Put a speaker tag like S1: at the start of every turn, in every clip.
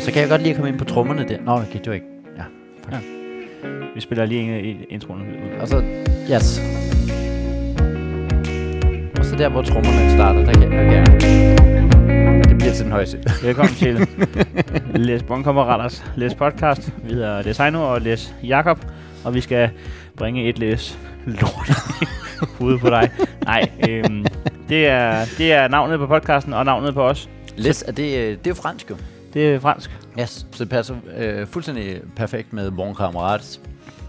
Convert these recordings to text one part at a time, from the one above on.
S1: Så kan jeg godt lige komme ind på trommerne der. Nå, okay, det var ikke... Ja, fuck.
S2: Ja.
S1: Ja.
S2: Vi spiller lige en, en introen ud.
S1: Og så... Yes. Og så der, hvor trommerne starter, der kan jeg gerne... Det bliver til den højeste.
S2: Velkommen til Les Bonkammeraters Les Podcast. Vi hedder Les Heino og Les Jakob, og vi skal bringe et Les lort i hovedet på dig. Nej, øhm, det, er, det er navnet på podcasten og navnet på os.
S1: Les, er det, øh, det er jo fransk jo.
S2: Det er fransk.
S1: Yes, så det passer øh, fuldstændig perfekt med Bon Kammerats.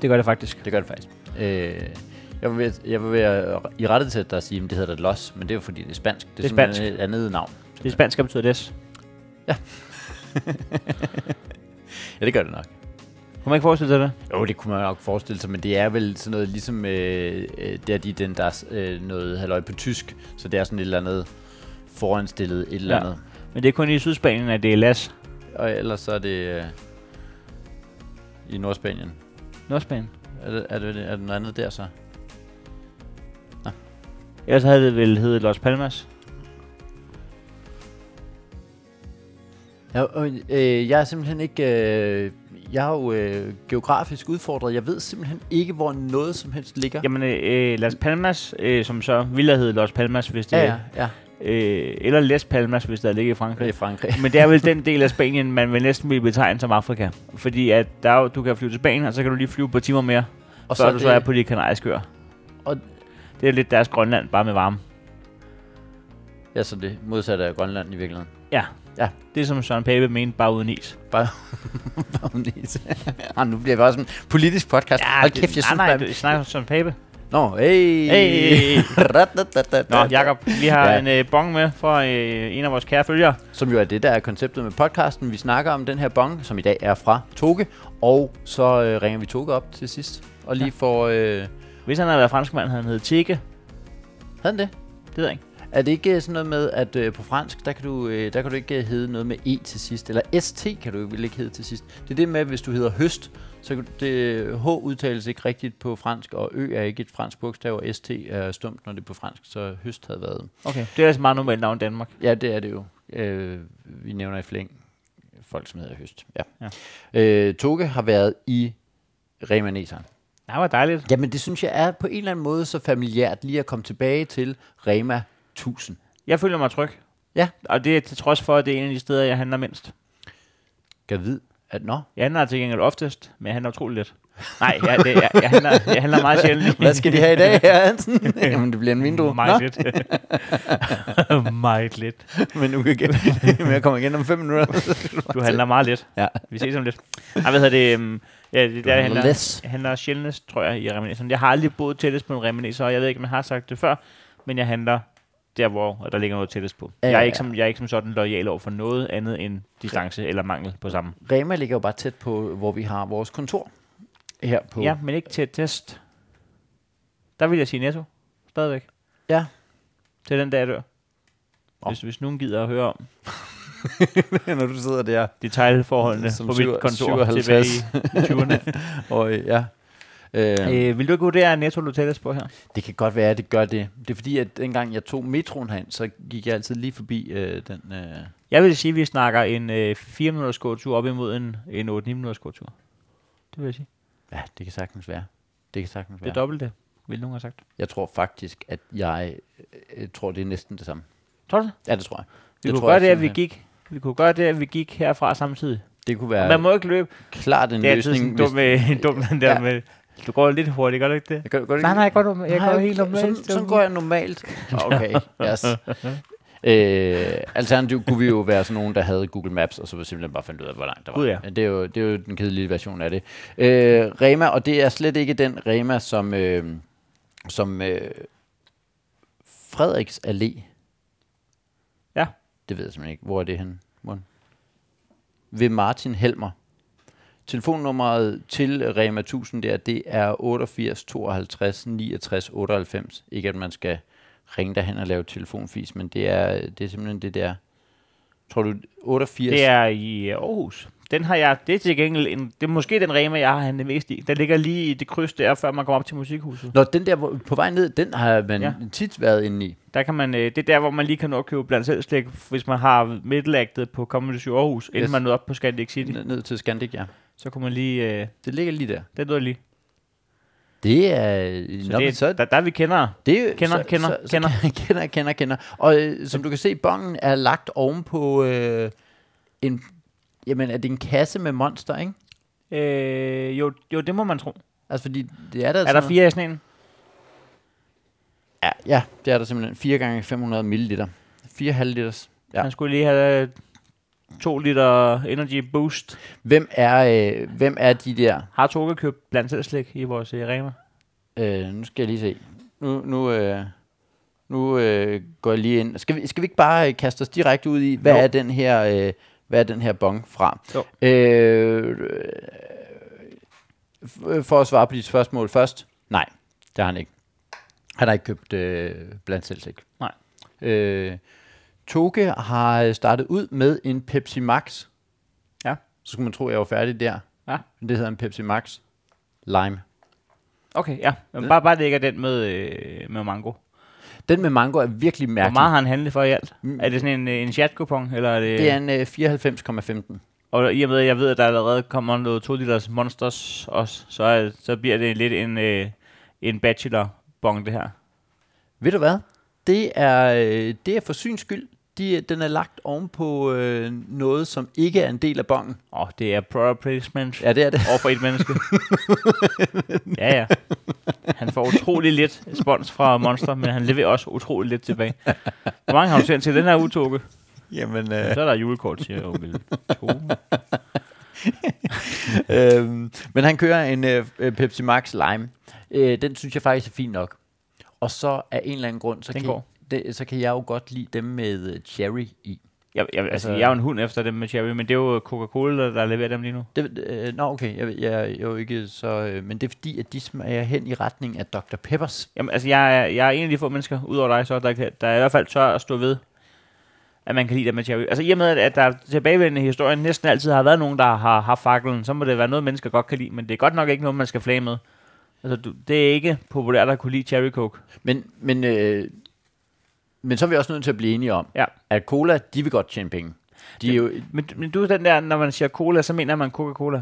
S2: Det gør det faktisk.
S1: Det gør det faktisk. Øh, jeg var ved, at- jeg var ved at i rette til dig at sige, at det hedder det Los, men det er jo fordi, det er spansk. Det er,
S2: Det er
S1: simpelthen
S2: spansk.
S1: et andet navn.
S2: Det er spansk, der betyder Les.
S1: Ja, det gør det nok.
S2: Kunne man ikke forestille sig det?
S1: Jo, det kunne man nok forestille sig, men det er vel sådan noget ligesom, øh, øh, der de den, der er s- øh, noget halvøj på tysk, så det er sådan et eller andet foranstillet et eller
S2: Ja.
S1: andet.
S2: Men det er kun i Sydspanien, at det er Las.
S1: Og ellers så er det øh, i Nordspanien.
S2: Nordspanien.
S1: Er, det, er, det, er det noget andet der så?
S2: Ellers havde det vel heddet Los Palmas.
S1: Ja, og, øh, jeg er simpelthen ikke... Øh, jeg er jo øh, geografisk udfordret. Jeg ved simpelthen ikke, hvor noget som helst ligger.
S2: Jamen, øh, øh, Las Palmas, øh, som så ville have heddet Los Palmas, hvis det...
S1: ja, ja, ja.
S2: Øh, eller Les Palmas, hvis det havde ligget i
S1: Det er i
S2: Frankrig.
S1: Frankrig.
S2: Men det er vel den del af Spanien, man vil næsten blive betegnet som Afrika. Fordi at der er, jo- du kan flyve til Spanien, og så kan du lige flyve på timer mere, og før så du så er på de kanariske øer.
S1: Og-
S2: Det er lidt deres Grønland, bare med varme.
S1: Ja, så det modsatte af Grønland i virkeligheden.
S2: Det er som Søren Pape mente, bare uden is.
S1: Bagnes. ah, nu bliver det bare sådan en politisk podcast. Ja, Hold
S2: det-
S1: kæft, jeg
S2: nej,
S1: synes,
S2: nej,
S1: man-
S2: du snakker om Søren Pape.
S1: Nå, hey.
S2: Hey.
S1: Ratatatat.
S2: Nå, Jakob, vi har
S1: Ja.
S2: ja. en øh, bong med fra øh, en af vores kære følgere.
S1: Som jo er det, der er konceptet med podcasten. Vi snakker om den her bong, som i dag er fra Toge. Og så øh, ringer vi Toge op til sidst. Og lige får... Øh, havde
S2: Hvis han havde været franskmand, havde han heddet Tikke.
S1: han det?
S2: Det ved jeg ikke.
S1: Er det ikke sådan noget med, at øh, på fransk, der kan, du, øh, der kan du ikke øh, hedde noget med E til sidst, eller ST kan du vel ikke hedde til sidst. Det er det med, at hvis du hedder høst, så kan du, det, H udtales ikke rigtigt på fransk, og Ø er ikke et fransk bogstav, og ST er stumt, når det er på fransk, så høst havde været.
S2: Okay. Det er altså meget normalt navn i Danmark.
S1: Ja, det er det jo. Øh, vi nævner i flæng folk, som hedder høst. Ja.
S2: Ja.
S1: Øh, Toge har været i Rema Nissan.
S2: Det var dejligt.
S1: Jamen, det synes jeg er på en eller anden måde så familiært lige at komme tilbage til Rema 1000.
S2: Jeg føler mig tryg.
S1: Ja.
S2: Og det er til trods for, at det er en af de steder, jeg handler mindst.
S1: Kan vide, at nå,
S2: Jeg handler til gengæld oftest, men jeg handler utrolig lidt. Nej, jeg, det, jeg, jeg, handler, jeg handler meget sjældent.
S1: Hvad skal de have i dag, herre Hansen? Jamen, det bliver en vindue.
S2: Meget lidt. meget lidt.
S1: men nu kan jeg, men jeg kommer igen om fem minutter.
S2: Du handler meget lidt.
S1: Ja.
S2: Vi ses om lidt. Nej, hvad hedder det? øhm, Ja, det er der, jeg handler,
S1: less.
S2: jeg handler sjældnest, tror jeg, i reminiscen. Jeg har aldrig boet tættest på en reminiscer, og jeg ved ikke, om jeg har sagt det før, men jeg handler der, hvor der ligger noget tættest på.
S1: Ja,
S2: Ja,
S1: ja,
S2: jeg, er ikke
S1: ja.
S2: som, jeg er ikke som sådan lojal over for noget andet end distance eller mangel på sammen.
S1: Rema ligger jo bare tæt på, hvor vi har vores kontor. Her på.
S2: Ja, men ikke til et test. Der vil jeg sige netto. Stadigvæk.
S1: Ja.
S2: Til den dag, jeg dør.
S1: Nå.
S2: Hvis, hvis nogen gider at høre om
S1: Når du sidder der.
S2: detailforholdene
S1: Som
S2: på
S1: syv-
S2: mit kontor
S1: 57.
S2: tilbage i 20'erne.
S1: Og, øh, ja. Øh,
S2: øh, vil du ikke vurdere at netto Lutellas på her?
S1: det kan godt være, at det gør det. Det er fordi, at dengang jeg tog metroen herind, så gik jeg altid lige forbi øh, den... Øh,
S2: Jeg vil sige, at vi snakker en øh, 4-minutters gåtur op imod en, en 8-9-minutters gåtur. Det vil jeg sige.
S1: ja, det kan sagtens være. Det kan sagtens
S2: Det er
S1: være.
S2: dobbelt det, vil nogen have sagt.
S1: Jeg tror faktisk, at jeg øh, tror, det er næsten det samme.
S2: Tror du det?
S1: Ja, det tror jeg.
S2: Vi
S1: det
S2: kunne
S1: tror jeg
S2: gøre det, at vi
S1: simpelthen.
S2: gik. Vi kunne gøre det, at vi gik herfra samtidig.
S1: Det kunne
S2: Ja. Man
S1: være
S2: må ikke løbe.
S1: klart en
S2: Det er altid sådan
S1: løsning.
S2: en dum, øh, en dum den der
S1: Ja.
S2: ja. med, du går lidt hurtigt, gør du ikke det?
S1: Jeg gør, gør det
S2: Nej,
S1: ikke-
S2: nej, jeg går, du- jeg går
S1: Nej,
S2: helt normalt.
S1: Sådan, sådan går jeg normalt. Okay, yes. Øh, alternativt kunne vi jo være sådan nogen, der havde Google Maps, og så simpelthen bare fandt ud af, hvor langt der var.
S2: Gud, ja.
S1: Men det, er jo, det er jo den kedelige version af det. Øh, Rema, og det er slet ikke den Rema, som, øh, som øh, Frederiks Allé.
S2: Ja.
S1: Det ved jeg simpelthen ikke. Hvor er det henne? Morten? Ved Martin Helmer. Telefonnummeret til Rema 1000 der, det er 88 52 69 98. Ikke at man skal ringe derhen og lave telefonfis, men det er, det er simpelthen det der. Tror du 88?
S2: Det er i øh, Aarhus. Den har jeg, det er til gengæld, en, det er måske den Rema, jeg har handlet mest i. Den ligger lige i det kryds der, før man kommer op til musikhuset.
S1: Nå, den der hvor- på vej ned, den har man ja.
S2: Ja.
S1: tit været inde i.
S2: Der kan man, øh, det er der, hvor man lige kan nå at købe blandt selv slik, hvis man har middelagtet på Comedy Zoo Aarhus, inden
S1: Yes.
S2: man nåede op på Scandic City.
S1: Ned, ned til Scandic, ja.
S2: Så kunne man lige, øh,
S1: Det ligger lige der.
S2: den lå lige.
S1: Det er...
S2: Så,
S1: Nå, men
S2: det,
S1: så,
S2: så der, der er vi kender.
S1: det, er-
S2: Kender,
S1: så,
S2: kender,
S1: så, så,
S2: kender.
S1: kender, kender, kender. Og øh, som du kan se, bongen er lagt ovenpå øh, en... Jamen, er det en kasse med monster, ikke?
S2: Øh, jo, jo, det må man tro.
S1: Altså, fordi det er der...
S2: Er
S1: sådan
S2: der
S1: noget-
S2: fire af sådan en?
S1: Ja, ja, det er der simpelthen. 4 gange 500 ml. 4,5 liters. Ja.
S2: Ja. Han skulle lige have øh, to liter Energy Boost.
S1: Hvem er, øh, hvem er de der?
S2: Har Toge købt blandt selv slik i vores øh, Rema?
S1: Øh, nu skal jeg lige se. Nu, nu, øh, nu øh, går jeg lige ind. Skal vi, skal vi ikke bare øh, kaste os direkte ud i, hvad
S2: Jo.
S1: er den her... Øh, hvad er den her bong fra?
S2: Jo.
S1: Øh, øh, for at svare på dit spørgsmål først. Nej, det har han ikke. Han har ikke købt øh, blandt selv slik.
S2: Nej.
S1: Øh, Toge har øh, startet ud med en Pepsi Max.
S2: Ja.
S1: Så skulle man tro, at jeg var færdig der.
S2: Ja.
S1: Men det hedder en Pepsi Max Lime.
S2: Okay, ja. Men bare, bare det ikke er den med, øh, med mango.
S1: Den med mango er virkelig
S2: Hvor
S1: mærkelig.
S2: meget har han handlet for i alt?
S1: Mm.
S2: Mm. Er det sådan en, øh, en chat-coupon? Eller er det,
S1: Det er en øh, 94,15.
S2: Og i og med, at jeg ved, at der allerede kommer noget 2 liters monsters også, så, er- så bliver det lidt en, øh, en bachelor-bong, det her.
S1: Ved du hvad? Det er, øh, det er for syns skyld. De, øh, den er lagt ovenpå øh, noget, som ikke er en del af bongen.
S2: Åh, oh, det er product placement ja.
S1: Ja, det er det.
S2: over for et menneske. ja, ja. Han får utrolig lidt spons fra Monster, men han leverer også utrolig lidt tilbage. Hvor mange har du sendt til den her utoge?
S1: Jamen,
S2: Så er der julekort, siger onkel Tove.
S1: øhm, men han kører en øh, øh, Pepsi Max Lime. Øh, den synes jeg faktisk er fin nok. Og så af en eller anden grund, så,
S2: Den
S1: kan,
S2: går.
S1: det, så kan jeg jo godt lide dem med øh, cherry i.
S2: Jeg, jeg, altså,
S1: Altså-
S2: jeg er jo en hund efter dem med cherry, men det er jo Coca-Cola, der, der leverer dem lige nu.
S1: Det, øh, nå, okay, jeg, jeg, jeg er jo ikke så... Øh, men det er fordi, at de smager hen i retning af Dr. Peppers.
S2: Jamen, altså, jeg, er- jeg er en af de få mennesker, udover dig, så, der, kan, der er i hvert fald tør at stå ved, at man kan lide det med Cherry. Altså, i og med, at- at der tilbagevendende i historien næsten altid har været nogen, der har haft faklen, så må det være noget, mennesker godt kan lide, men det er godt nok ikke noget, man skal flage med. Altså, du, det er ikke populært at kunne lide Cherry Coke.
S1: Men, men, øh, men så er vi også nødt til at blive enige om,
S2: Ja.
S1: at cola, de vil godt tjene penge. De er jo,
S2: Men, men du er den der, når man siger cola, så mener man Coca-Cola.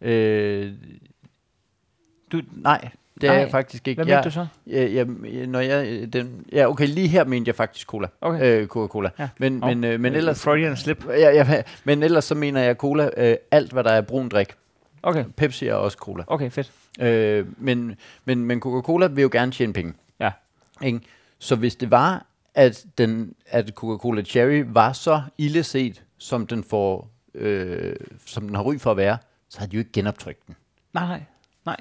S1: øh, du, nej, det er
S2: Nej.
S1: jeg faktisk ikke.
S2: Hvad mener
S1: jeg,
S2: du så?
S1: Jeg, jeg, når jeg, øh, den, ja, okay, lige her mente jeg faktisk cola.
S2: Okay.
S1: Øh, Coca-Cola.
S2: Ja.
S1: Men,
S2: Nå.
S1: men, øh, men, ellers,
S2: Freudian slip.
S1: ja, ja, men ellers så mener jeg cola, øh, alt hvad der er brun drik.
S2: Okay,
S1: Pepsi er også cola.
S2: okay, fedt.
S1: Øh, men, men, men Coca-Cola vil jo gerne tjene penge.
S2: Ja.
S1: Ikke? Så hvis det var, at, den, at Coca-Cola Cherry var så illeset, som den, får, øh, som den har ry for at være, så havde de jo ikke genoptrykt den.
S2: Nej, nej, nej.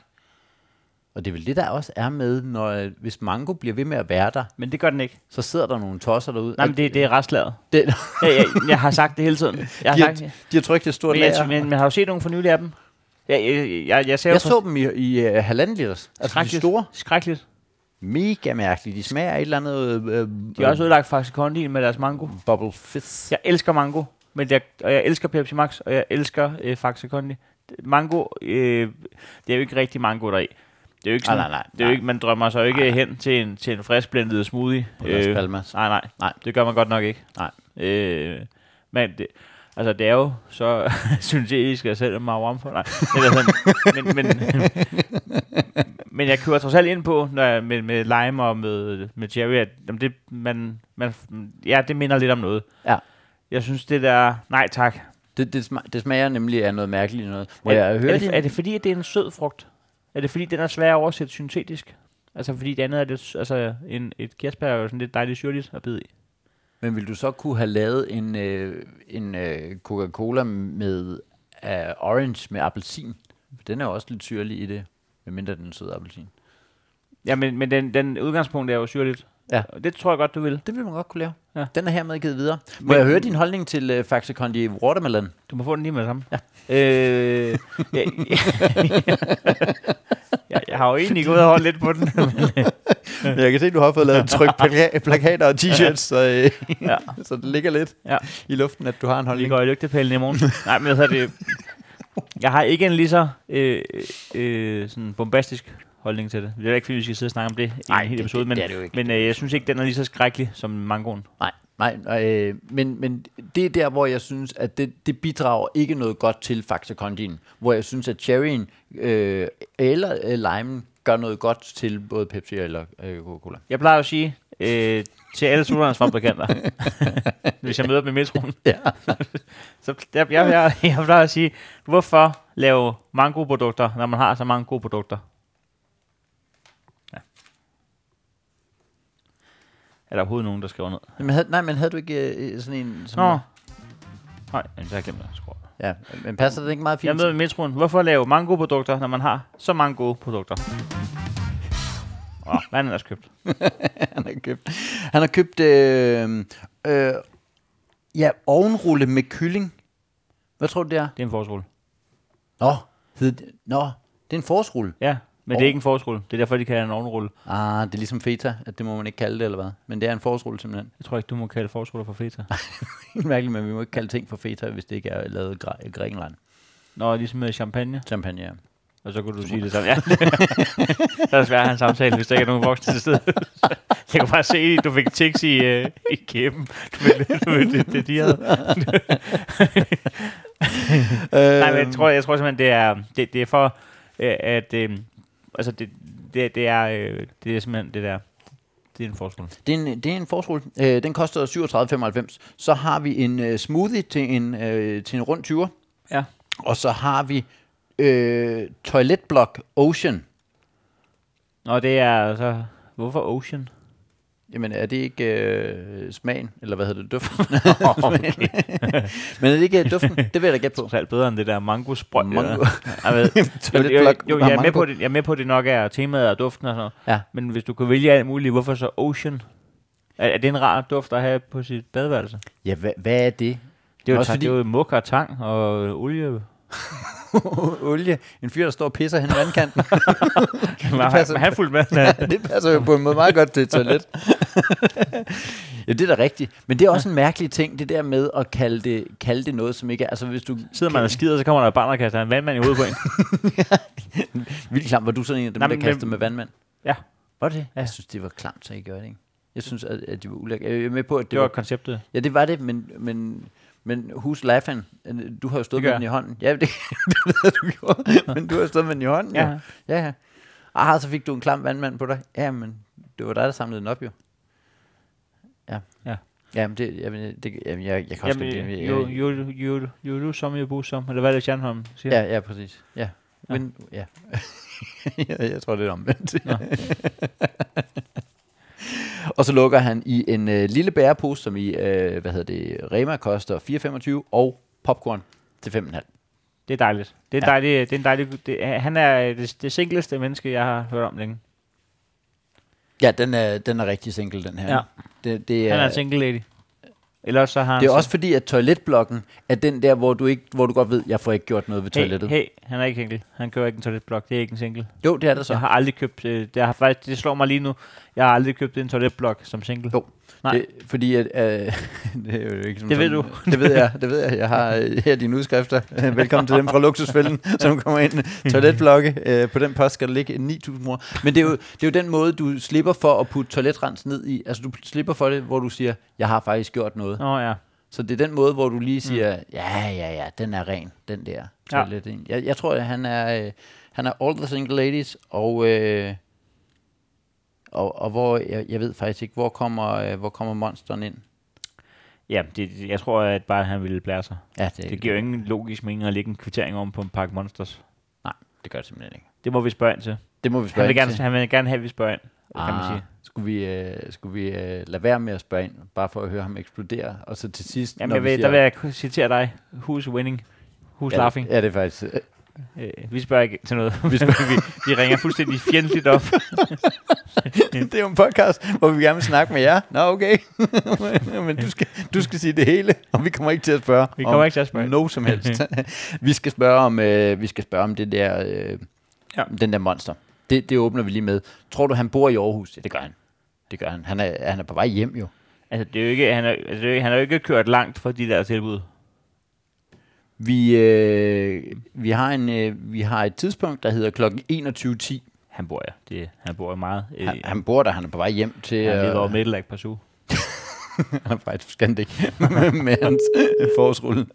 S1: Og det er vel det, der også er med, når, øh, hvis Mango bliver ved med at være der,
S2: Men det gør den ikke.
S1: så sidder der nogle tosser derude.
S2: Nej, men det, det er restlaget.
S1: det,
S2: Jeg, jeg, jeg, har sagt det hele tiden. Jeg har
S1: de,
S2: sagt,
S1: har, de har trykt et stort
S2: Men, jeg,
S1: lager.
S2: men, men har du set nogen for nylig af dem? Jeg, jeg, jeg, jeg, ser
S1: Jeg så dem i, i uh, halvanden liters. Altså de
S2: skrækkeligt.
S1: store.
S2: Skrækkeligt. Mega.
S1: Mega mærkelige. De smager af et eller andet øh,
S2: De har også ødelagt faktisk kondien med deres mango.
S1: bubble fizz.
S2: Jeg elsker mango, men jeg, og jeg elsker Pepsi Max, og jeg elsker øh, Faxe Kondi. Mango, øh, det er jo ikke rigtig mango deri. Det er jo ikke
S1: Ah, Nej,
S2: sådan,
S1: nej, nej,
S2: det er jo
S1: nej.
S2: ikke, man drømmer sig jo ikke hen til en, til en friskblendet smoothie. øh,
S1: På Las Palmas.
S2: nej, nej,
S1: Nej.
S2: nej, det gør man godt nok ikke.
S1: Nej.
S2: Øh, men det, altså, det er jo så syntetisk, at jeg selv er meget varm for. Nej, eller sådan. men, men, men jeg kører trods alt ind på, når jeg, med, med lime og med, med cherry, at jamen, det, man, man, ja, det minder lidt om noget.
S1: Ja.
S2: Jeg synes, det der... Nej, tak.
S1: Det, det, smager, det smager nemlig af noget mærkeligt noget. Må
S2: er,
S1: jeg høre
S2: er,
S1: din-
S2: det, er det fordi, at det er en sød frugt? Er det fordi, den er svær at oversætte syntetisk? Altså, fordi det andet er lidt... Altså, en, et kirsebær er jo sådan lidt dejligt syrligt at bide i.
S1: Men vil du så kunne have lavet en, øh, en øh, Coca-Cola med øh, orange med appelsin? Den er jo også lidt syrlig i det, medmindre den er sød appelsin.
S2: Ja, men, men den, den udgangspunkt er jo syrligt.
S1: Ja.
S2: Og Det tror jeg godt, du vil.
S1: Det vil man godt kunne lave. Ja.
S2: Ja.
S1: Den er hermed givet videre. Må
S2: Men-
S1: jeg høre din holdning til øh, Faxe Kondi Watermelon?
S2: Du må få den lige med det samme. Ja. Øh, jeg, jeg, jeg, har jo egentlig gået og holdt lidt på den.
S1: Men jeg kan se, at du har fået lavet en tryk plaka- plakater og t-shirts, så, øh,
S2: Ja.
S1: så det ligger lidt
S2: Ja.
S1: ja. i luften, at du har en
S2: Vi
S1: holdning.
S2: går i lygtepælen i morgen. Nej, men altså, det, jeg har ikke en lige så øh, øh, sådan bombastisk holdning til det. Det er ikke, fordi vi skal sidde og snakke om det i
S1: Nej,
S2: en hel
S1: det-
S2: episode,
S1: det-
S2: men,
S1: det er det jo ikke.
S2: men øh, jeg synes ikke, den er lige så skrækkelig som mangoen.
S1: Nej, nej, nej øh, men, men det er der, hvor jeg synes, at det, det bidrager ikke noget godt til Faxe Condien, hvor jeg synes, at cherryen øh, eller øh, limen gør noget godt til både Pepsi eller øh, Coca-Cola.
S2: Jeg plejer jo at sige øh, til alle sodavandsfabrikanter, hvis jeg møder dem i metroen,
S1: Ja.
S2: så jeg, jeg, jeg, jeg plejer at sige, hvorfor lave mangoprodukter, når man har så mange gode produkter? Ja. Er der overhovedet nogen, der skriver ned?
S1: Men havde, nej, men havde du ikke øh, sådan en... Sådan
S2: Nå. Nej, jamen, så har jeg glemt at skrue.
S1: Ja, men passer det ikke meget fint?
S2: Jeg er med i metroen. Hvorfor lave mange gode produkter, når man har så mange gode produkter? Åh, hvad er også købt?
S1: han har købt. Han har købt øh, øh, ja, ovenrulle med kylling. Hvad tror du, det er?
S2: Det er en forårsrulle.
S1: Nå, hed det, nå det er en forårsrulle.
S2: Ja, men oh. det er ikke en forårsrulle. Det er derfor, de kalder det en ovnrulle.
S1: Ah, det er ligesom feta, at det må man ikke kalde det, eller hvad? Men det er en forårsrulle simpelthen.
S2: Jeg tror ikke, du må kalde forårsruller for feta.
S1: Helt mærkeligt, men vi må ikke kalde ting for feta, hvis det ikke er lavet i Græ- Grækenland.
S2: Nå, ligesom med champagne.
S1: Champagne, ja.
S2: Og så kunne du sige det samme. Ja. så er det svært at have en samtale, hvis der ikke er nogen voksne til stede. jeg kunne bare se, at du fik tics i, øh, i kæben. Du ved, du ved, det, det, de havde. Nej, men jeg tror, jeg tror simpelthen, det er, det, det er for, øh, at... Øh, altså, det, det, det, er, øh, det er simpelthen det der... Det er en forskel.
S1: Det er en, det er en forsrulle. Øh, den koster 37,95. Så har vi en øh, smoothie til en, øh, til en rund 20.
S2: Ja.
S1: Og så har vi øh, toiletblok Ocean.
S2: Nå, det er så... Hvorfor Ocean?
S1: Jamen, er det ikke øh, smagen? Eller hvad hedder det? Duften?
S2: okay.
S1: Men er det ikke øh, duften? Det vil jeg da gætte på.
S2: Det er alt bedre end det der mangosprøjt.
S1: Mango.
S2: eller- Jeg, ved, jo,
S1: Toiletblok
S2: jo, jo,
S1: ud af
S2: jeg, er med
S1: mango.
S2: på det, jeg er med på, at det nok er temaet og duften og sådan noget.
S1: Ja.
S2: Men hvis du kan vælge alt muligt, hvorfor så Ocean? Er, er det en rar duft at have på sit badeværelse?
S1: Ja, hvad, hvad er det?
S2: Det er jo,
S1: Også
S2: fordi...
S1: fordi-
S2: det er jo muk og tang og øh, olie.
S1: Olie. En fyr, der står og pisser hen i vandkanten.
S2: Men han,
S1: passer.
S2: men han fulgte med. Ja.
S1: det passer jo på en måde meget godt til et toilet. ja, det er da rigtigt. Men det er også en mærkelig ting, det der med at kalde det, kalde det noget, som ikke er... Altså, hvis du...
S2: Sidder man og skider, så kommer der et barn og kaster en vandmand i hovedet på en.
S1: Vildt klamt, var du sådan en af dem,
S2: Nej,
S1: der
S2: men-
S1: kastede med vandmand?
S2: Ja.
S1: Var det?
S2: Ja.
S1: Ja. Jeg synes, det var klamt, så jeg gjorde det, ikke? Jeg synes, at, at det var ulækkert. Jeg er med på, at det,
S2: Det var konceptet.
S1: Ja, det var det, men, men, men who's laughing? Øh, Du har jo stået
S2: Det gør
S1: med den i hånden. Ja, det, det ved jeg, du gjorde, men du har stået med den i hånden,
S2: Ja.
S1: jo. Ja, ja. Ah, så fik du en klam vandmand på dig. Ja, men det var dig, der samlede den op, jo. Ja.
S2: Ja.
S1: Jamen, det, jamen, det, jamen jeg, jeg kan også
S2: Jamen,
S1: godt lide-
S2: you, you, you, you do some, you do some. Eller hvad er det, Stjernholm siger?
S1: Ja, ja, præcis. Ja. Men, ja. jeg, jeg tror, det er omvendt.
S2: Nå.
S1: og så lukker han i en øh, lille bærepose, som i, øh, hvad hedder det, Rema koster 4,25, og popcorn til 5,5.
S2: Det er dejligt. Det er,
S1: Ja.
S2: dejligt, det er en dejlig... Det, er- han er det, det singleste menneske, jeg har hørt om længe.
S1: Ja, den er, den er rigtig single, den her.
S2: Ja.
S1: Det, det
S2: Ja.
S1: er,
S2: Han er en single lady. Eller også Ah, så har han...
S1: det er også fordi, at toiletblokken er den der, hvor du, ikke, hvor du godt ved, jeg får ikke gjort noget ved
S2: Hey,
S1: toilettet.
S2: hey, han er ikke single. Han kører ikke en toiletblok. Det er ikke en single.
S1: Jo, det er der
S2: Så
S1: så.
S2: jeg har aldrig købt... Øh, det, har faktisk, det slår mig lige nu. Jeg har aldrig købt en toiletblok som single.
S1: Jo.
S2: Nej.
S1: Det, fordi at, øh, det er jo ikke som
S2: Det ved
S1: sådan-
S2: du.
S1: det ved jeg, det ved jeg. Jeg har øh, her dine udskrifter. Velkommen til dem fra Luksusfælden, som kommer ind. Toiletblokke. Øh, på den post skal der ligge 9.000 kroner. Men det er, jo, det er jo den måde, du slipper for at putte toiletrens ned i. Altså du slipper for det, hvor du siger, jeg har faktisk gjort noget.
S2: Nå ja.
S1: Så det er den måde, hvor du lige siger, ja, ja, ja, den er ren, den der.
S2: Mm. Ja.
S1: Toilet. Jeg, jeg tror, at han er, øh, han er all the single ladies, og, øh, og, og hvor, jeg, jeg ved faktisk ikke, hvor kommer, øh, hvor kommer monsteren ind?
S2: Ja, det- det, jeg tror at bare, han ville blære sig.
S1: Ja, det,
S2: Det giver jo ingen logisk mening at lægge en kvittering om på en pakke monsters.
S1: Nej, det gør det simpelthen ikke.
S2: Det må vi spørge ind til.
S1: Det må vi spørge
S2: Han vil,
S1: ind
S2: gerne,
S1: til.
S2: han vil gerne have, at vi spørger ind, ah. kan man sige.
S1: Skulle vi, øh, skulle vi øh, lade være med at spørge ind, bare for at høre ham eksplodere, og så til sidst,
S2: Jamen,
S1: når
S2: jeg
S1: vi
S2: vil,
S1: siger,
S2: der vil jeg kun citere dig. Who's winning? Who's
S1: ja,
S2: laughing?
S1: Ja, det er faktisk... Øh,
S2: Øh, vi spørger ikke til noget. Vi, vi, vi ringer fuldstændig fjendtligt op.
S1: det er jo en podcast, hvor vi gerne vil snakke med jer. Nå, okay. Men du skal, du skal sige det hele, og vi kommer ikke til at spørge.
S2: Vi kommer
S1: om
S2: ikke til at spørge.
S1: No som helst. vi, skal spørge om, øh, vi skal spørge om det der, øh,
S2: Ja.
S1: ja. den der monster. Det, det åbner vi lige med. Tror du, han bor i Aarhus? Ja, det gør han. Det gør han. Han er, han er på vej hjem jo.
S2: Altså, det er jo ikke, han, er, altså, det er jo ikke, han har jo ikke kørt langt for de der tilbud.
S1: Vi, øh, vi, har en, øh, vi har et tidspunkt, der hedder klokken 21.10.
S2: Han bor, ja. Det, han bor jo meget. Øh,
S1: Han,
S2: han,
S1: han bor der, han er på vej hjem til...
S2: han lever
S1: øh,
S2: over Middelag på su.
S1: han er på vej til Scandic med hans forårsrulle.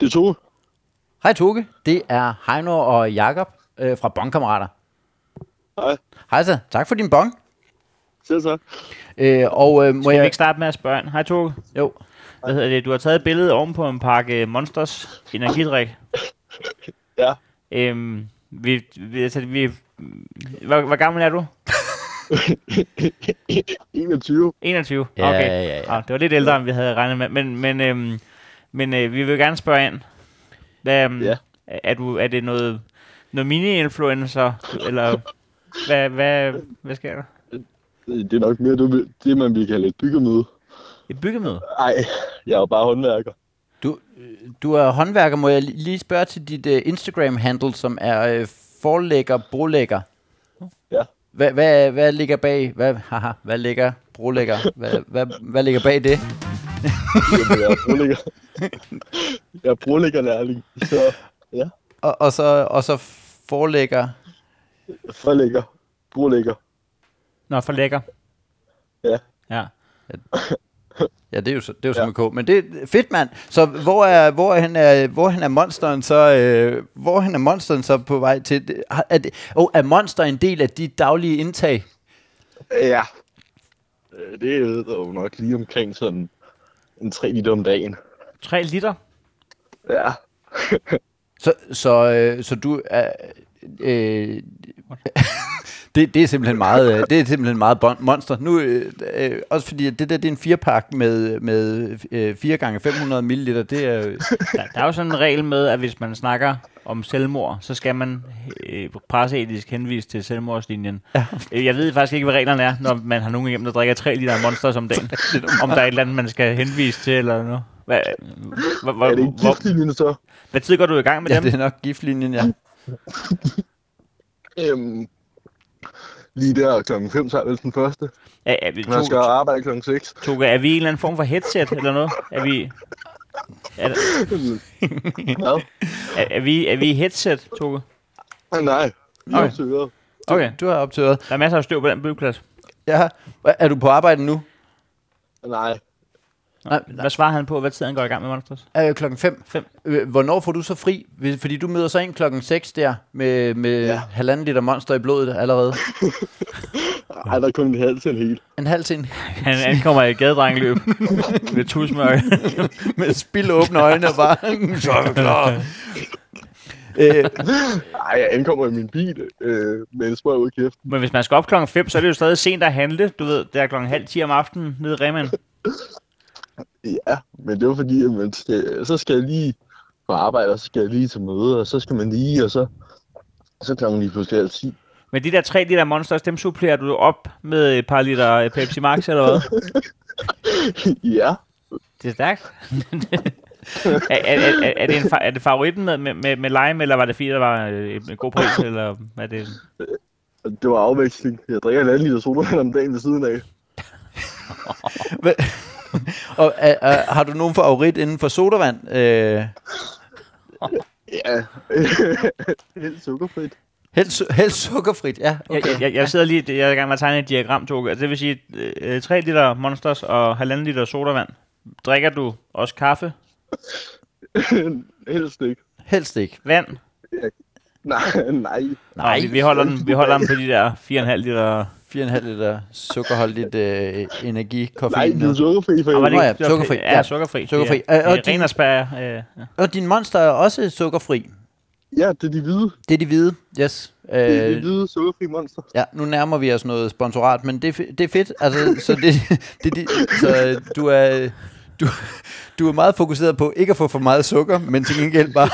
S3: Det er Tue.
S1: Hej Toge, det er Heino og Jakob øh, fra Bonkammerater.
S3: Hej.
S1: Hej så, tak for din bong.
S3: Selv tak.
S1: Øh, og øh, må
S2: Må jeg
S1: jeg...
S2: ikke starte med at spørge en? Hej, Toge.
S1: Jo,
S2: Hvad hedder det? Du har taget et billede oven på en pakke øh, Monsters energidrik.
S3: Ja.
S2: Øhm, vi, vi, altså, vi, hvor, hvor gammel er du?
S3: 21.
S2: 21?
S1: Ja,
S2: okay.
S1: ja, ja.
S2: Ah, det var lidt ældre, end vi havde regnet med. Men, men, øhm, men øh, vi vil gerne spørge ind. Hvad, øhm,
S3: Ja.
S2: er, du, er det noget, noget mini-influencer? Eller hvad, hvad, hvad sker der?
S3: Det er nok mere det, det man ville kalde et byggemøde.
S2: Et byggemøde?
S3: Nej, jeg er jo bare håndværker.
S1: du, øh, du er håndværker. Må jeg li- lige spørge til dit øh, Instagram-handle, som er øh, forlægger, brolægger?
S3: Ja.
S1: Hvad, hvad, hvad ligger bag? Hvad, haha, hvad ligger brolægger? Hvad, hvad, hvad ligger bag det?
S3: Jamen, Jeg er brolægger. jeg er brolæggerlærling. Så ja,
S1: Og, og, så, og så forlægger...
S3: forlægger. Brolægger.
S2: Nå, for lækker.
S3: Ja.
S2: Ja.
S1: Ja, det er jo, så- det er jo
S3: Ja.
S1: som ja. K. Men det er fedt, mand. Så hvor er, hvor er, han, er, hvor han er monsteren så, øh, hvor han er monsteren så på vej til? Det- har- Er, det, oh, er monster en del af dit daglige indtag?
S3: Ja. Øh, Det er jo nok lige omkring sådan en 3 liter om dagen.
S2: 3 liter?
S3: Ja.
S1: Så, så, øh, så du er... Øh, det, det er simpelthen meget, øh, det er simpelthen meget bon, monster. Nu, øh, øh, også fordi at det der det er en firepakke med, med øh, 4 gange 500 ml, det er jo-
S2: Der, der er jo sådan en regel med, at hvis man snakker om selvmord, så skal man øh, presseetisk henvise til selvmordslinjen. Ja. Jeg ved faktisk ikke, hvad reglerne er, når man har nogen igennem, der drikker 3 liter monster om dagen. om der er et eller andet, man skal henvise til eller noget. Hvad, hvor, hvor,
S3: Er det ikke
S2: hvor,
S3: giftlinjen så?
S2: hvad tid går du i gang med
S1: ja,
S2: dem?
S1: det er nok giftlinjen, ja.
S3: Øhm, lige der klokken 5, så er vel den første.
S2: Er, er, vi,
S3: Man skal
S2: to,
S3: arbejde klokken 6.
S2: to, er vi i en eller anden form for headset eller noget? Er vi, er,
S3: Hvad?
S2: er, er vi, er vi i headset, Toge?
S3: Ah, Nej, vi
S2: Okay.
S3: er til øret.
S2: Okay,
S1: Du har optøjet.
S2: der er masser af støv på den byggeplads.
S1: Ja. Er du på arbejde nu?
S3: Ah, Nej,
S1: Nej,
S2: Hvad svarer han på, hvad tid han går i gang med Monsters?
S1: Øh, klokken 5.
S2: Fem.
S1: Øh, hvornår får du så fri? Hvis- Fordi du møder så ind klokken 6 der, med, med ja.
S3: Ja.
S1: halvanden liter monster i blodet allerede.
S3: Ej, der er kun en halv til en hel.
S1: En halv til en
S2: Han ankommer i et gadedrengløb ved tusmørke.
S1: med spild åbne øjne og bare, så er vi klar. Øh,
S3: Nej, jeg ankommer i min bil øh, med en sprøj ud i kæften.
S2: Men hvis man skal op klokken 5, så er det jo stadig sent at handle. Du ved, det er klokken halv 10 om aftenen nede i Remen.
S3: Ja, men det var fordi, at man skal, så skal jeg lige på arbejde, og så skal jeg lige til møde, og så skal man lige, og så, så klokken lige pludselig halv 10.
S2: Men de der 3 liter Monsters, dem supplerer du op med et par liter øh, Pepsi Max eller hvad?
S3: ja,
S2: Det er stærkt. er, er, er, er- er, det en, fa- er det favoritten med, med, med, med lime, eller var det fordi, der var øh, en god pris, eller er det...
S3: og det var afveksling. Jeg drikker en anden liter sodavand om dagen ved siden af.
S1: hvad- og, øh, øh, har du nogen favorit inden for sodavand? Øh,
S3: Ja, helt sukkerfrit.
S1: helst, su- helst sukkerfrit, ja.
S2: Okay. Jeg, jeg, jeg sidder lige, jeg er i gang med at tegne et diagram, Toge. Altså, det vil sige, øh, 3 liter Monsters og 1,5 liter sodavand. Drikker du også kaffe,
S3: Helst ikke.
S1: Helst ikke.
S2: vand?
S3: Nej, nej.
S2: Nej, vi, vi, holder den, vi holder den på de der 4,5 liter
S1: 4,5 liter sukkerholdigt øh, energi,
S3: Nej,
S1: koffein.
S3: det er
S1: noget.
S3: sukkerfri for
S2: Og Ah, var det
S1: Nå
S2: ikke,
S1: ja,
S2: det var
S1: sukkerfri,
S2: pe- Ja,
S1: ja.
S2: sukkerfri.
S1: Sukkerfri.
S2: Det er,
S1: Øh, og
S2: det er ren
S1: din-
S2: og spær. Øh, ja.
S1: Og din monster er også sukkerfri.
S3: Ja, det er de hvide.
S1: Det er de hvide, yes.
S3: Det er de
S1: Øh,
S3: hvide sukkerfri monster.
S1: Ja, nu nærmer vi os noget sponsorat, men det, er fe- det er fedt. Altså, så det, det, det, så øh, du er, du, du er meget fokuseret på ikke at få for meget sukker, men til gengæld bare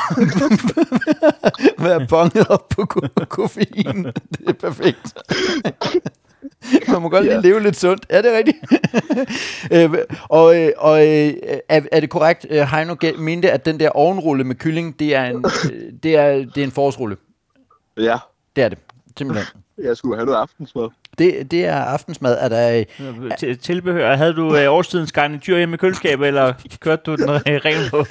S1: være bonget op på ko- koffein. Det er perfekt. Man må godt
S3: Ja.
S1: lige leve lidt sundt. Ja, det er rigtigt. øh, og øh, og øh, er, er det korrekt, øh, Heino gæ- mente, at den der ovenrulle med kylling, det er en, øh, det er, det er en forårsrulle?
S3: Ja,
S1: Det er det, simpelthen.
S3: jeg skulle have noget aftensmad.
S1: Det, det er aftensmad. Er der, øh,
S2: Til- Tilbehør. Havde du øh, årstidens garnitur hjemme i køleskabet, eller kørte du den øh, ren på?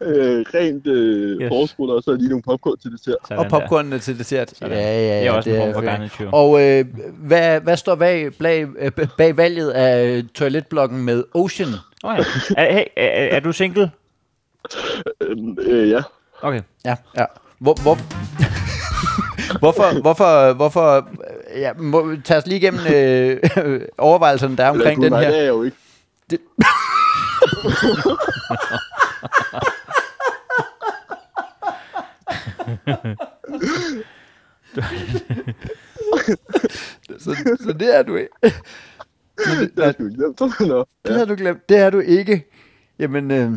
S3: Øh, rent øh,
S2: Yes.
S3: yes. forårsruller, og så lige nogle popcorn til dessert.
S2: Sådan
S1: og
S2: der.
S1: popcornene til dessert.
S2: Sådan. Det er også en form for
S1: fint.
S2: garnitur.
S1: Og øh, hvad, hvad står bag, bag, øh, bag valget af øh, toiletblokken med Ocean?
S2: Oh, ja. er, hey, er, er, er du single?
S3: Øh, øh, ja.
S2: Okay.
S1: Ja, ja. Hvor, hvor, hvorfor, hvorfor, hvorfor, øh, ja, må, tag os lige igennem øh, overvejelserne, der er
S3: Eller,
S1: omkring
S3: gud,
S1: den
S3: nej,
S1: her.
S3: det er jeg jo ikke.
S1: Så, så det er du ikke.
S3: Det er sgu ikke nemt. Nå.
S1: Det
S3: Ja.
S1: har du glemt. Det har du ikke. Jamen, øh,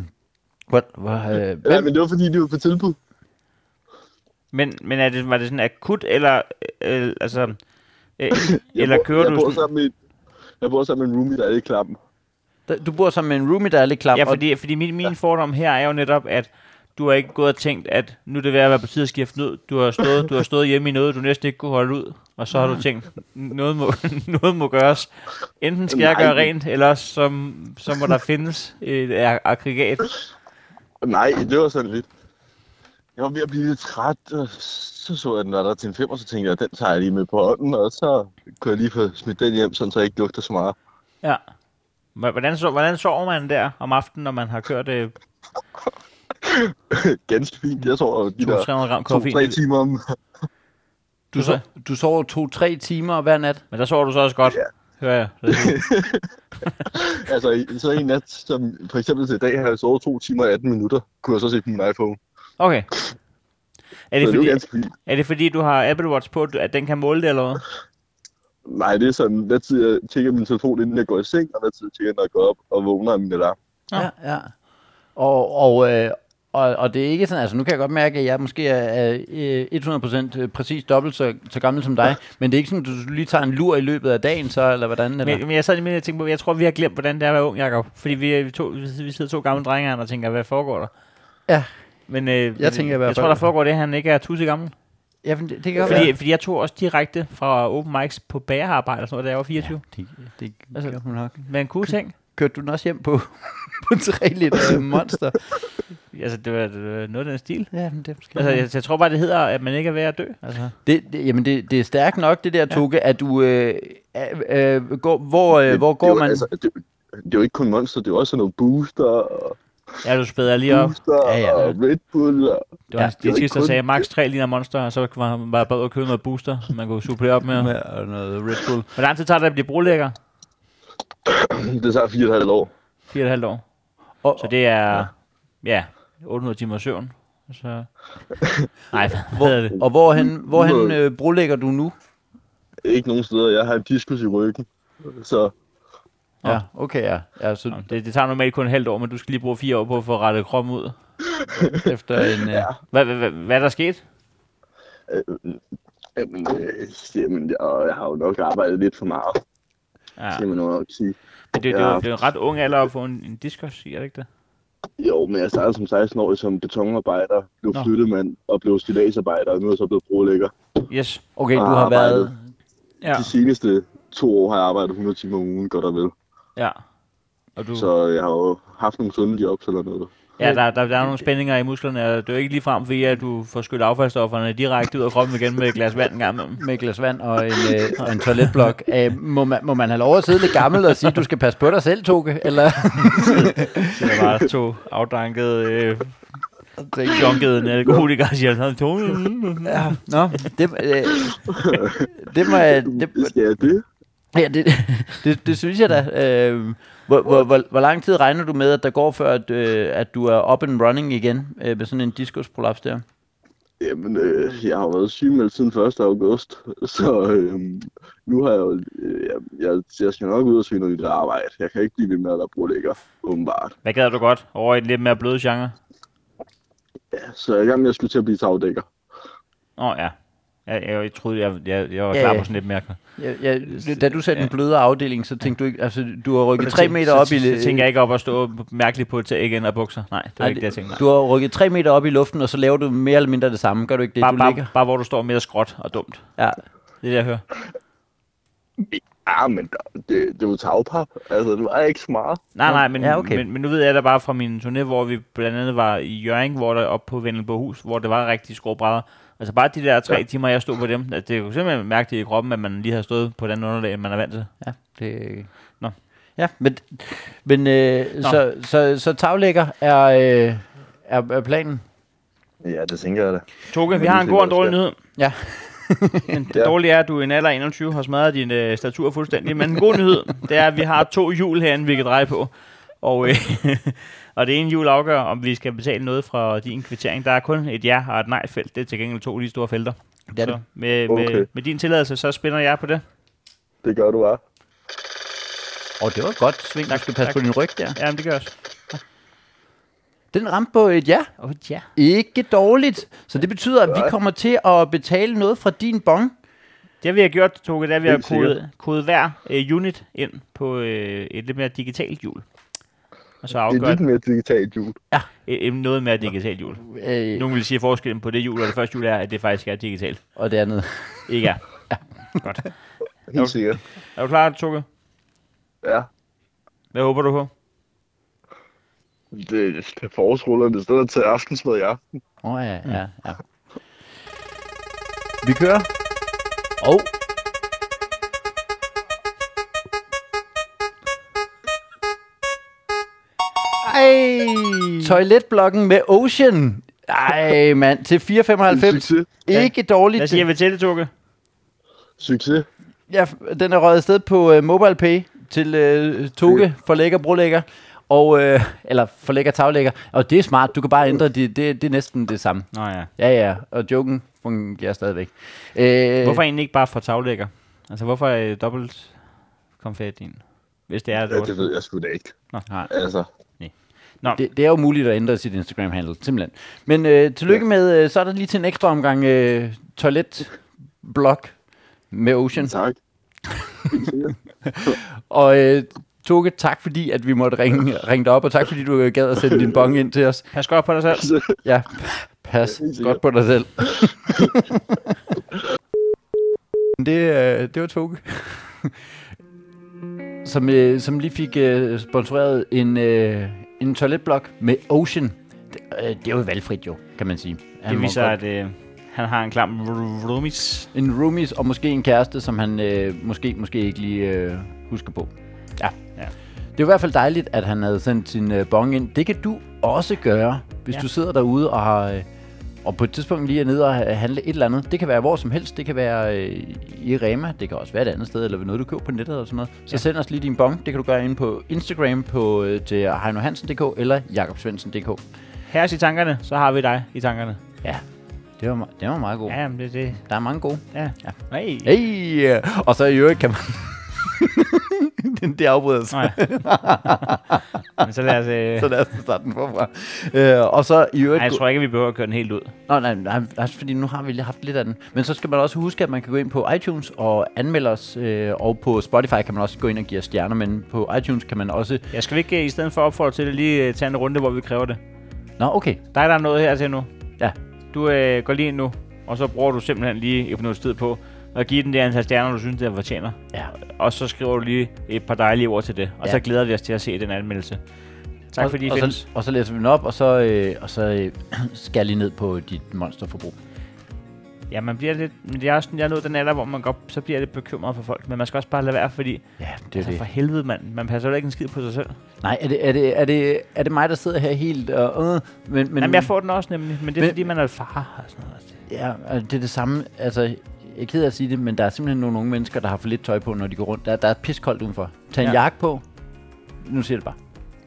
S1: hvor, hvor, øh,
S3: Ja,
S1: hvem,
S3: men det var fordi, de var på tilbud.
S2: Men, men er det, var det sådan akut, eller, øh, altså, øh, eller kører
S3: jeg
S2: du
S3: bor
S2: sådan...
S3: sammen med, jeg bor sammen med en roomie, der er i klappen.
S1: du bor sammen med en roomie, der er lidt klam.
S2: Ja,
S1: og-
S2: fordi, fordi min, min fordom her er jo netop, at du har ikke gået og tænkt, at nu er det ved at være på tide at skifte ud. Du har stået, du har stået hjemme i noget, du næsten ikke kunne holde ud. Og så har du tænkt, noget må, noget må gøres. Enten skal jeg
S3: Nej.
S2: gøre rent, eller også så, så må der findes et ag- aggregat.
S3: Nej, det var sådan lidt. Jeg var ved at blive lidt træt, og så så jeg den var der til en femmer, så tænkte jeg, den tager jeg lige med på ånden, og så kunne jeg lige få smidt den hjem, sådan så jeg ikke lugter så meget.
S2: Ja. Hva- Hvordan, so, hvordan sover man der om aftenen, når man har kørt øh, 200-300
S3: Ganske fint, jeg tror, de der
S2: gram koffein?
S3: to-tre timer om...
S1: Du, so, du sover to-tre timer hver nat.
S2: Men der sover du så også godt,
S3: Ja.
S2: hører jeg. Så-
S3: Altså, i- så en nat, som for eksempel til i dag, har jeg sovet to timer og 18 minutter, kunne jeg så se på min iPhone.
S2: Okay. Er
S3: Så
S2: det,
S3: det er
S2: fordi,
S3: jo ganske fint.
S2: er det fordi, du har Apple Watch på, at den kan måle det, eller hvad?
S3: Nej, det er sådan, hvad tid jeg tjekker min telefon, inden jeg går i seng, og hvad tid jeg tjekker, når jeg går op og vågner af min alarm.
S2: Nå.
S1: Ja, ja. Og, og, øh, og, og det er ikke sådan, altså nu kan jeg godt mærke, at jeg måske er øh, 100% præcis dobbelt så, så gammel som dig, men det er ikke sådan, at du lige tager en lur i løbet af dagen så, eller hvordan? Eller?
S2: Men, men jeg sad lige med og tænkte på, jeg tror, vi har glemt, hvordan det er at være ung, Jacob. Fordi vi, er- vi, to, vi sidder to gamle drenge her og tænker, hvad foregår der?
S1: Ja.
S2: Men øh,
S1: Jeg tænker i hvert
S2: jeg tror,
S1: fald-
S2: der foregår det, at han ikke er tusse gammel.
S1: Ja, men det, det kan godt
S2: Fordi,
S1: være.
S2: fordi jeg tog også direkte fra open mics på bagerarbejde og sådan noget, da jeg var 24.
S1: Det, det
S2: Altså-
S1: gør hun nok.
S2: Men en cool ting.
S1: Kørte du den også hjem på, på 3 liter øh, monster?
S2: Altså, det var, det var noget af den stil.
S1: Ja, men det skal
S2: Altså, jeg, jeg tror bare, det hedder, at man ikke er ved at dø. Altså.
S1: det, det, jamen, det, det er stærkt nok, det der, Toge, at du... Øh, øh, øh, går, hvor, øh,
S3: Det-
S1: hvor
S3: det
S1: går
S3: er jo,
S1: man?
S3: Altså, det, det er jo ikke kun Monster, det er jo også sådan noget Booster, og
S2: Ja, du spæder lige op.
S3: Booster,
S1: Ja,
S3: ja,
S1: ja.
S3: ja. og Red Bull, og
S2: Det var
S1: Ja,
S2: ja,
S3: det
S2: det
S3: var
S2: sidste,
S3: ikke
S2: der
S3: kun-
S2: sagde, max 3 ligner monster, og så var man bare bedre at købe noget booster, som man kunne supplere op med.
S1: med og noget Red Bull.
S2: Hvor lang tid tager det at blive brolægger?
S3: det tager fire og et halvt år.
S2: 4,5 år.
S1: Og,
S2: Så det er, ja, 800 timer søvn. Så... Nej, hvad hedder det?
S1: og hvorhen, hvorhen
S3: Ude-
S1: øh, brolægger du nu?
S3: Ikke nogen steder, jeg har en diskus i ryggen, så
S1: Ja, okay, ja. ja så
S2: det? Det tager normalt kun et halvt år, men du skal lige bruge fire år på at få rettet kroppen ud.
S1: efter en... Øh,
S2: Hvad, hvad, hvad, hvad er der sket?
S3: øh, jamen, øh, jamen, jeg, jeg har jo nok arbejdet lidt for meget,
S2: Ja.
S3: ja. kan man jo nok sige.
S2: Men det, det, er jo- det er jo en ret ung alder at få en, en diskus, siger det ikke det?
S3: Jo, men jeg startede som 16-årig som betonarbejder, blev
S2: Nå.
S3: flyttemand og blev stilagsarbejder, og nu er jeg så blevet brolægger.
S2: Yes.
S1: okay, du
S3: Og
S1: har
S3: arbejdet.
S1: været...
S2: Ja.
S3: De seneste to år har jeg arbejdet 100 timer om ugen, godt og vel.
S2: ja. Og du,
S3: Så jeg har jo haft nogle sunde jobs eller noget.
S2: ja, der, der, der er nogle spændinger i musklerne, og det er jo ikke ligefrem fordi, at du får skyllet affaldsstofferne direkte ud af kroppen igen med et glas vand en gang imellem.
S1: med et glas vand og en, øh, og en toiletblok. Æh, må, man, må man have lov at sidde lidt gammel og sige, du skal passe på dig selv, Toge? Eller
S2: Så der var to afdankede, øh, junkede alkoholikere, der siger, "Nå, Tony, mm, mm."
S1: Ja, nå, det, øh, det må jeg... Det,
S3: Skal jeg det?
S1: ja, det, det, det synes jeg da. Øh, hvor, hvor, hvor, hvor lang tid regner du med, at der går, før at, øh, at du er up and running igen øh, med sådan en diskusprolaps der?
S3: Jamen, øh, jeg har jo været sygemeldt siden 1. august, så øh, nu har jeg jo... Øh, jeg, jeg, jeg skal nok ud og søge noget nyt arbejde. Jeg kan ikke blive ved med at være brolægger, åbenbart.
S2: Hvad gad du godt over i en lidt mere bløde genre?
S3: Ja, så jeg er i gang med at skulle til at blive tagdækker.
S2: Åh oh, ja. Jeg, jeg, jeg troede, jeg, jeg, jeg var
S1: Ja,
S2: klar
S1: ja.
S2: på sådan lidt mere.
S1: Ja, ja, da du satte ja. den bløde afdeling, så tænkte du ikke, altså du har rykket
S2: Så
S1: tre
S2: tænk-
S1: meter
S2: så-
S1: op i...
S2: Så tænker jeg ikke op og stå mærkeligt på til ikke ændre bukser. Nej, det var
S1: Nej,
S2: ikke det, jeg tænkte.
S1: Du har rykket tre meter op i luften, og så laver du mere eller mindre det samme. Gør du ikke det,
S2: Bare,
S1: du
S2: bare,
S1: ligger?
S2: bare hvor du står mere skråt og dumt.
S1: Ja.
S2: Det er det, jeg hører.
S3: Ja, Ah, men der- det, det var tagpap. Altså, det var ikke smart.
S2: Nej, nej, men,
S1: Ja, okay.
S2: men, men nu ved jeg da bare fra min turné, hvor vi blandt andet var i Jørgen, hvor der oppe på Vendelbohus, hvor det var rigtig skråbrædder. Altså bare de der tre ja. timer, jeg stod på dem, altså, det kunne simpelthen mærke det i kroppen, at man lige har stået på den underlag, end man er vant til.
S1: Ja, det...
S2: Nå.
S1: Ja, men, men øh, så, så, så taglægger er, øh, er, er planen.
S3: Ja, det tænker jeg da.
S2: Toge, vi
S3: Men
S2: har
S3: det
S2: en
S3: tænker
S2: god og en
S3: jeg
S2: dårlig
S3: også,
S2: nyhed.
S1: Ja.
S2: Den
S3: Ja.
S2: ja. dårlige er, at du i en alder af 21 har smadret din øh, statur fuldstændig, men en god nyhed, det er, at vi har to hjul herinde, vi kan dreje på. Og, øh, og det ene hjul afgør, om vi skal betale noget fra din kvittering. Der er kun et ja og et nej-felt. Det er til gengæld to lige store felter.
S1: Det er
S2: så
S1: det.
S2: Med,
S3: Okay.
S2: med, med din tilladelse, så spænder jeg på det.
S3: Det gør du bare.
S1: Og det var et godt sving. Du skal passe
S2: tak.
S1: på din ryg der.
S2: Jamen, det gør jeg også.
S1: Den ramte på et ja.
S2: Åh, oh, ja.
S1: Ikke dårligt. Så det betyder, at vi kommer til at betale noget fra din bong.
S2: Det vi har gjort, Toge, det er, at vi har
S3: Helt sikkert.
S2: kodet, kodet hver øh, unit ind på øh, et lidt mere digitalt hjul. Og så
S3: Det er
S2: afgør
S3: lidt mere digitalt jul.
S2: øh, noget mere digitalt hjul.
S1: Øh,
S2: Nogen vil sige, at forskellen på det jul og det første jul er, at det faktisk er digitalt.
S1: og det andet.
S2: Ikke er.
S3: Helt
S2: Okay.
S3: sikkert.
S2: Er du klar, Tukke?
S3: Ja.
S2: Hvad håber du på?
S3: Det, det er forårsrullerne, det står der til aftensmad i aften.
S1: Åh oh,
S2: Mm.
S1: ja, ja, ja. Vi kører. Og... Ej! Toiletblokken med Ocean. Ej, mand. Til 4,95.
S3: Succes.
S1: Ikke
S2: Hvad
S1: dårligt.
S2: siger vi til det, Tukke?
S3: Succes.
S1: Ja, den er røget afsted på uh, MobilePay til uh, Toge for lækker brolægger. Og, uh, eller for lækker taglægger. Og det er smart. Du kan bare ændre det. Det, det er næsten det samme.
S2: Nå ja.
S1: Ja, ja, og joken fungerer stadigvæk. Øh,
S2: Hvorfor egentlig ikke bare for taglægger? Altså, hvorfor øh, dobbelt konfettien? Hvis det er
S3: Ja, det ved jeg sgu da ikke.
S2: Nå, nej.
S3: Altså,
S1: Det, det er jo muligt at ændre sit Instagram-handle, simpelthen. Men øh, tillykke med, øh, så er der lige til en ekstra omgang øh, toiletblog med Ocean.
S3: tak.
S1: Og øh, Toge, tak fordi, at vi måtte ringe, ringe dig op, og tak fordi du øh, gad at sende din bong ind til os.
S2: Pas godt på dig selv.
S1: Ja, pas
S3: Helt
S1: godt
S3: sikkert.
S1: på dig selv. det, øh, det var Toge. som, øh, som lige fik øh, sponsoreret en, øh, en toiletblok med Ocean. Det, øh, det er jo valgfrit jo, kan man sige. Han
S2: Det
S1: må
S2: viser,
S1: godt-
S2: at øh, han har en klam vr- roomies.
S1: En roomies og måske en kæreste, som han øh, måske, måske ikke lige øh, husker på. Ja.
S2: Ja.
S1: Det er i hvert fald dejligt, at han havde sendt sin øh, bong ind. Det kan du også gøre, hvis
S2: Ja.
S1: ja. du sidder derude og har... Øh, og på et tidspunkt lige er nede og ha- handle et eller andet. Det kan være hvor som helst. Det kan være øh, i Rema. Det kan også være et andet sted, eller ved noget, du køber på nettet eller sådan noget. Så ja. send os lige din bong. Det kan du gøre inde på Instagram på, øh, til heinohansen.dk eller jakobsvensen.dk.
S2: Her i tankerne, så har vi dig i tankerne.
S1: Ja, det var, me- det var meget godt. Ja.
S2: Ja, men det er det.
S1: Der er mange gode.
S2: Ja.
S1: Ja.
S2: Hey.
S1: Hey! Og så i øvrigt kan man... Den- det afbryder sig,
S2: Nå, ja. men så lad os... Øh...
S1: så lad os starte den forfra. Øh, og så i
S2: Ej,
S1: øvrigt...
S2: jeg
S1: Ej,
S2: tror ikke, vi behøver at køre den helt ud.
S1: Nå, nej, nej, altså, fordi nu har vi lige haft lidt af den. Men så skal man også huske, at man kan gå ind på iTunes og anmelde os. Øh, og på Spotify kan man også gå ind og give os stjerner, men på iTunes kan man også...
S2: Jeg skal vi ikke øh, i stedet for opfordre til det, lige øh, tage en runde, hvor vi kræver det.
S1: Nå, okay.
S2: Dig, der er noget her til nu.
S1: Ja.
S2: Du øh, går lige ind nu, og så bruger du simpelthen lige et minuts tid på at give den det antal stjerner, du synes, den fortjener.
S1: Ja.
S2: Og så skriver du lige et par dejlige ord til det. Og
S1: Ja.
S2: ja. så glæder vi os til at se den anmeldelse. Tak
S1: og,
S2: fordi I
S1: og,
S2: findes.
S1: så, og så læser vi den op, og så, øh, og så øh, skal jeg lige ned på dit monsterforbrug.
S2: Ja, man bliver lidt... Men det er også sådan, jeg er nået den alder, hvor man godt, så bliver jeg lidt bekymret for folk. Men man skal også bare lade være, fordi...
S1: Ja, det er
S2: Altså
S1: det.
S2: for helvede, mand. Man passer jo ikke en skid på sig selv.
S1: Nej, er det, er, det, er, det, er det mig, der sidder her helt og... Øh, men, men,
S2: Men, Jamen, jeg får den også nemlig. Men det er
S1: Men-
S2: men, fordi, man er far og sådan noget.
S1: Ja, og det er det samme. Altså, jeg er ked af at sige det, men der er simpelthen nogle unge mennesker, der har for lidt tøj på, når de går rundt. Der, der er piskoldt udenfor. Tag en ja.
S2: Ja.
S1: jakke på. Nu siger jeg det bare.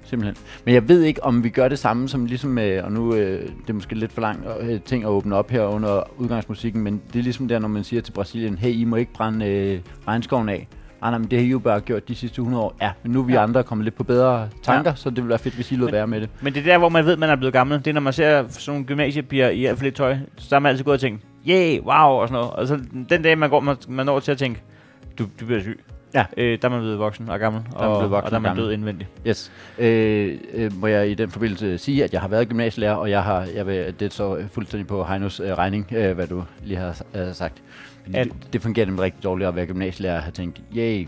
S1: Simpelthen. Men jeg ved ikke, om vi gør det samme som ligesom, øh, og nu øh, det er måske lidt for lang øh, ting at åbne op her under udgangsmusikken, men det er ligesom der, når man siger til Brasilien, hey, I må ikke brænde øh, regnskoven af. Ah, nej, men det har I jo bare gjort de sidste 100 år. Ja, men nu er vi ja. andre kommet lidt på bedre tanker, ja. så det ville være fedt, hvis I lod være med det.
S2: Men det er der, hvor man ved, man er blevet gammel. Det er, når man ser sådan nogle gymnasiepiger i alt for lidt tøj. Så har man altid gået og tænkt, yeah, wow, og sådan noget. Og så den dag, man, går, man, man når til at tænke, du, du bliver syg.
S1: Ja.
S2: Øh, der er man blevet voksen og gammel,
S1: man
S2: og,
S1: blevet voksen
S2: og der er
S1: og
S2: man
S1: gammel.
S2: død indvendigt.
S1: Yes. Øh, øh, må jeg i den forbindelse sige, at jeg har været gymnasielærer, og jeg har, jeg vil, det står fuldstændig på Heinos øh, regning, øh, hvad du lige har øh, sagt. Fordi
S2: At-
S1: det, det fungerer nemlig rigtig dårligt at være gymnasielærer og have tænkt, yay,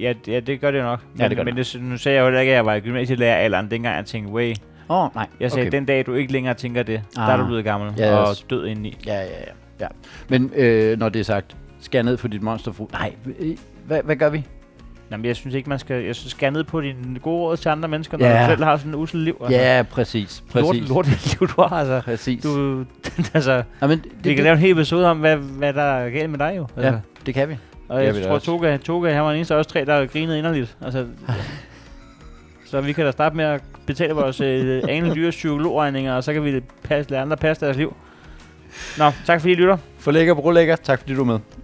S2: Ja, det- ja, det gør det jo nok. Men,
S1: det gør det
S2: men det, nu sagde jeg jo heller ikke, at jeg var i gymnasielærer alderen, dengang jeg tænkte, way.
S1: åh oh, nej,
S2: Jeg sagde, okay. den dag, du ikke længere tænker det, ah. der er du
S1: Ah.
S2: blevet gammel
S1: Ja,
S2: og
S1: yes.
S2: død indeni.
S1: Ja, ja, ja. ja. Men øh, når det er sagt, skær ned på dit monsterfru. Nej, øh, hvad, hvad gør vi?
S2: Nå, men jeg synes ikke, man skal, jeg synes, skal ned på dine gode råd til andre mennesker, når
S1: Ja.
S2: du selv har sådan en usel liv. Altså.
S1: Ja, præcis.
S2: Lort,
S1: præcis.
S2: lort liv, du har, altså.
S1: Præcis. Du,
S2: Du, altså,
S1: ja, men
S2: det, vi kan lave en hel episode om, hvad, hvad der er galt med dig jo. Altså.
S1: Ja, det kan vi.
S2: Og
S1: Ja,
S2: jeg
S1: vi da
S2: tror,
S1: også.
S2: Toga, Toga, han var den eneste af os tre, der grinede inderligt. Altså, så vi kan da starte med at betale vores øh, anel dyre psykologregninger, og så kan vi passe, lade andre passe deres liv. Nå, tak fordi I lytter.
S1: For lækker, bro lækker. Tak fordi du er med.